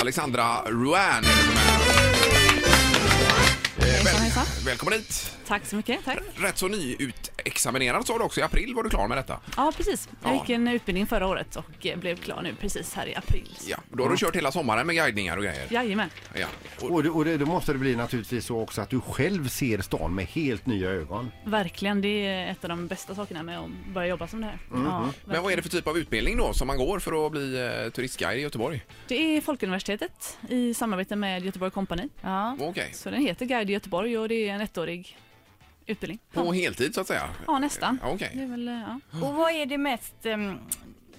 Alexandra Ruan. är det som är. Eh, Hejsan, väl- hejsan. Välkommen hit. Tack så mycket. Tack. Rätt så nyutexaminerad sa du också. I april var du klar med detta. Ja, precis. Ja. Jag gick en utbildning förra året och eh, blev klar nu precis här i april. Ja, då har du kört hela sommaren med guidningar och grejer. Jajamän. Ja. Och, Och, det, och det, då måste det bli naturligtvis så också att du själv ser stan med helt nya ögon. Verkligen. Det är ett av de bästa sakerna med att börja jobba som det här. Ja, Mm-hmm. men vad är det för typ av utbildning då som man går för att bli eh, turistguide i Göteborg? det är Folkuniversitetet i samarbete med Göteborg Company. Ja. Okej. Så den heter Guide i Göteborg och det är en ettårig utbildning. På heltid så att säga? Ja, nästan. Ja, okej. Det är väl, eh, ja. Och vad är det mest, ehm,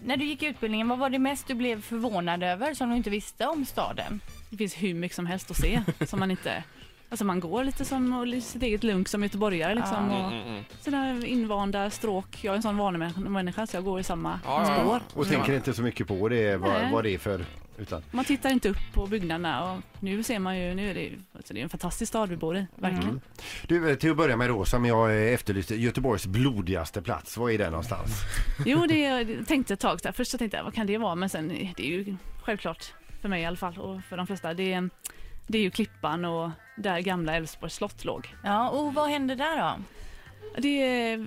när du gick utbildningen, vad var det mest du blev förvånad över som du inte visste om staden? Det finns hur mycket som helst att se som man inte... Alltså man går lite som och sitt eget lunk som göteborgare liksom. Och Mm, sina invanda stråk. Jag är en sån vanemänniska så jag går i samma Ja, ja, ja. spår. Och tänker inte så mycket på det, vad, Nej. vad det är för... Utan, Man tittar inte upp på byggnaderna och nu ser man ju, nu är det, ju- alltså det är en fantastisk stad vi bor i, verkligen. du, eh, till att börja med då, som jag eh, efterlyste, Göteborgs blodigaste plats, var är den någonstans? Jo, det jag tänkte ett tag, så här, först så tänkte jag vad kan det vara, men sen det är ju självklart för mig i alla fall och för de flesta, det är, det är ju Klippan och där gamla Älvsborgs slott låg. Ja, och vad hände där då? Det är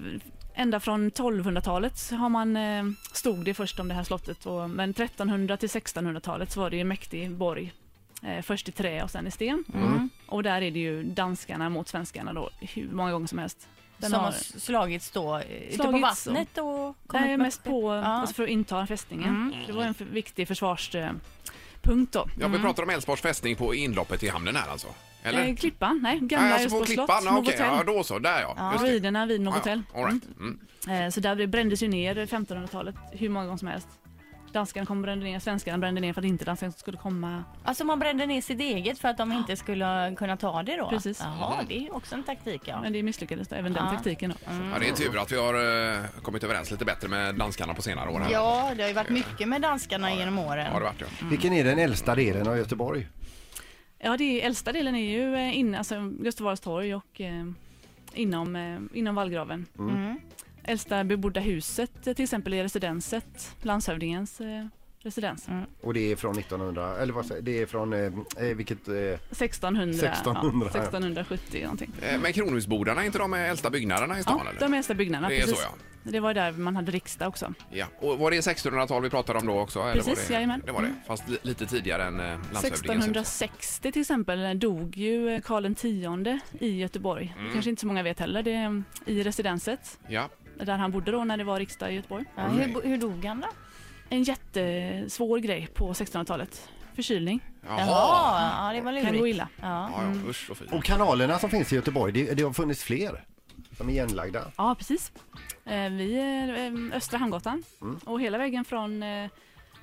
ända från 1200-talet så har man, eh, stod det först om det här slottet. Och, men 1300 till 1600-talet så var det ju en mäktig borg. Eh, först i trä och sen i sten. Mm. Mm. Och där är det ju danskarna mot svenskarna då hur många gånger som helst. Den som har- har slagits då eh, ute på Slagits och- vattnet och kommit Nej, med- mest på, alltså för att inta fästningen. Mm. Det var en för, viktig försvarspunkt då. Ja, vi pratar om Älvsborgs fästning på inloppet i hamnen här alltså? Eller? Mm. Eh, klippan, nej, Nej, gamla alltså på Älvsborgs slott, klippan? Ja, Okej, Novotell. ja, då så. Där ja. Just det. Ruinerna vid Novotell. Ja, ja. All right. mm. Eh, Så där brändes ju ner 1500-talet hur många gånger som helst. Danskarna kom och brände ner, svenskarna brände ner för att inte danskarna skulle komma. Alltså man brände ner sitt eget för att de inte skulle kunna ta det då? Precis. Mm. Jaha, det är ju också en taktik ja. Men det misslyckades då, även den Ja. Mm. taktiken. Då. ja, det är tur att vi har eh, kommit överens lite bättre med danskarna på senare år. Här. Ja, det har ju varit mycket med danskarna genom Ja, det har åren. det varit ja. Vilken är den äldsta delen av Göteborg? Ja, det är, äldsta delen är ju eh, inne, alltså Gustav Vasas torg och eh, inom, eh, inom vallgraven. Mm. Äldsta bebodda huset eh, till exempel är residenset, landshövdingens eh, residens. Och det är från 1900, eller vad säger det är från eh, eh, vilket... Eh, 1600, 1600, ja, 1670 någonting. Eh, Men Kronhusbodarna, är inte de äldsta byggnaderna i stan? Ja, eller? de äldsta byggnaderna, Det är så, precis. Det var ju där man hade riksdag också. Ja, och var det 1600-tal vi pratade om då också? eller Precis, var det, jajamän. det var det, fast li- lite tidigare än eh, landshövdingens hus. 1660 till exempel dog ju eh, Karl X i Göteborg. Mm. Det kanske inte så många vet heller. Det är mm, i residenset Ja, där han bodde då när det var riksdag i Göteborg. Ja, hur, hur dog han då? En jättesvår grej på 1600-talet. Förkylning. jaha. Jaha, ja, det var Kan gå lurigt. illa. Ja. Ja, Mm. ja, usch och fy. och kanalerna som finns i Göteborg, det, det har funnits fler som är igenlagda. Ja, precis. Eh, Vi är eh, Östra Hamngatan och hela vägen från eh,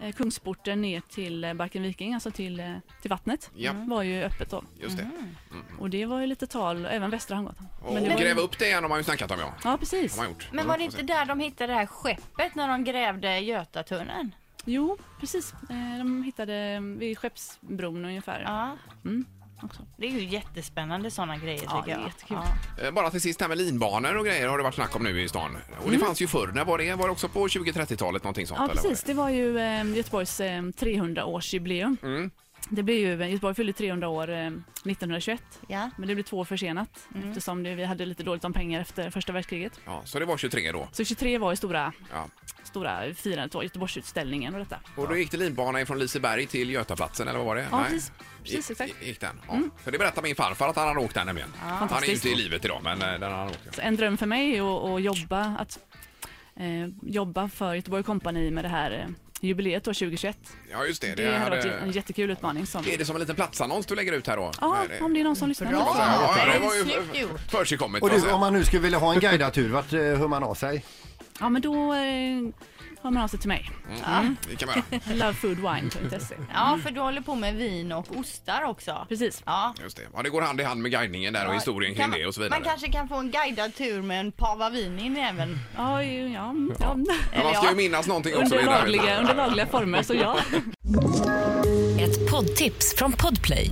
eh, Kungsporten ner till eh, Barken Viking, alltså till, eh, till vattnet, mm, Ja. var ju öppet då. Just det. Och det och det var ju lite tal, även Västra Hamngatan. Och, Mm. Men det och var ju- gräva upp det igen har man ju snackat om ja. Ja, precis. Har man gjort. Mm. Men var det inte där de hittade det här skeppet när de grävde Götatunneln? Jo, precis. Eh, De hittade vid Skeppsbron ungefär. Ja. Mm, också. Det är ju jättespännande sådana grejer Ja, tycker det är jättekul. jag. Eh, Bara till sist här med linbanor och grejer har det varit snack om nu i stan. Och det fanns ju förr. När var det? Var det också på 20-30-talet någonting sånt? Mm. Ja, eller var precis. Det var ju eh, Göteborgs eh, 300-årsjubileum. Mm. Det blev ju, eh, Göteborg fyllde 300 år eh, 1921, Ja. men det blev två år försenat eftersom det, vi hade lite dåligt om pengar efter första världskriget. Ja, så det var 23 då. Så 23 var ju stora, Ja. stora firandet, då, Göteborgsutställningen och detta. Och då gick det linbana ifrån Liseberg till Götaplatsen eller vad var det? Ja, Nej. precis. Precis, Gick- exakt. Mm. Gick den? Ja. För det berättade min farfar att han hade åkt den nämligen. Han är ju Fantastiskt. inte i livet idag men eh, den har han åkt. ja. Så en dröm för mig är att, att jobba, att, eh, jobba för Göteborg Company med det här eh, jubileet år 2021. Ja, just det. Det, hade varit en jättekul utmaning. Som, Är det som en liten platsannons du lägger ut här då? Ja, Här, eh, om det är någon som lyssnar. Bra! Ja, det det är var ju snyggt gjort. försigkommit. Och får jag du, säga. om man nu skulle vilja ha en guidatur, vart eh, hör man av sig? Ja, men då eh, hör man av sig till mig. Mm, det kan man göra. Lovefoodwine.se. Ja, för du håller på med vin och ostar också. Precis. Ja. Just det. Ja, det går hand i hand med guidningen där och historien kring Kan det och så vidare. Man kanske kan få en guidad tur med en pava vin in även. Ja, ju- ja, mm, ja. Men man ska ju minnas någonting också. i Under det här. lagliga, under lagliga former, så ja. Ett poddtips från Podplay.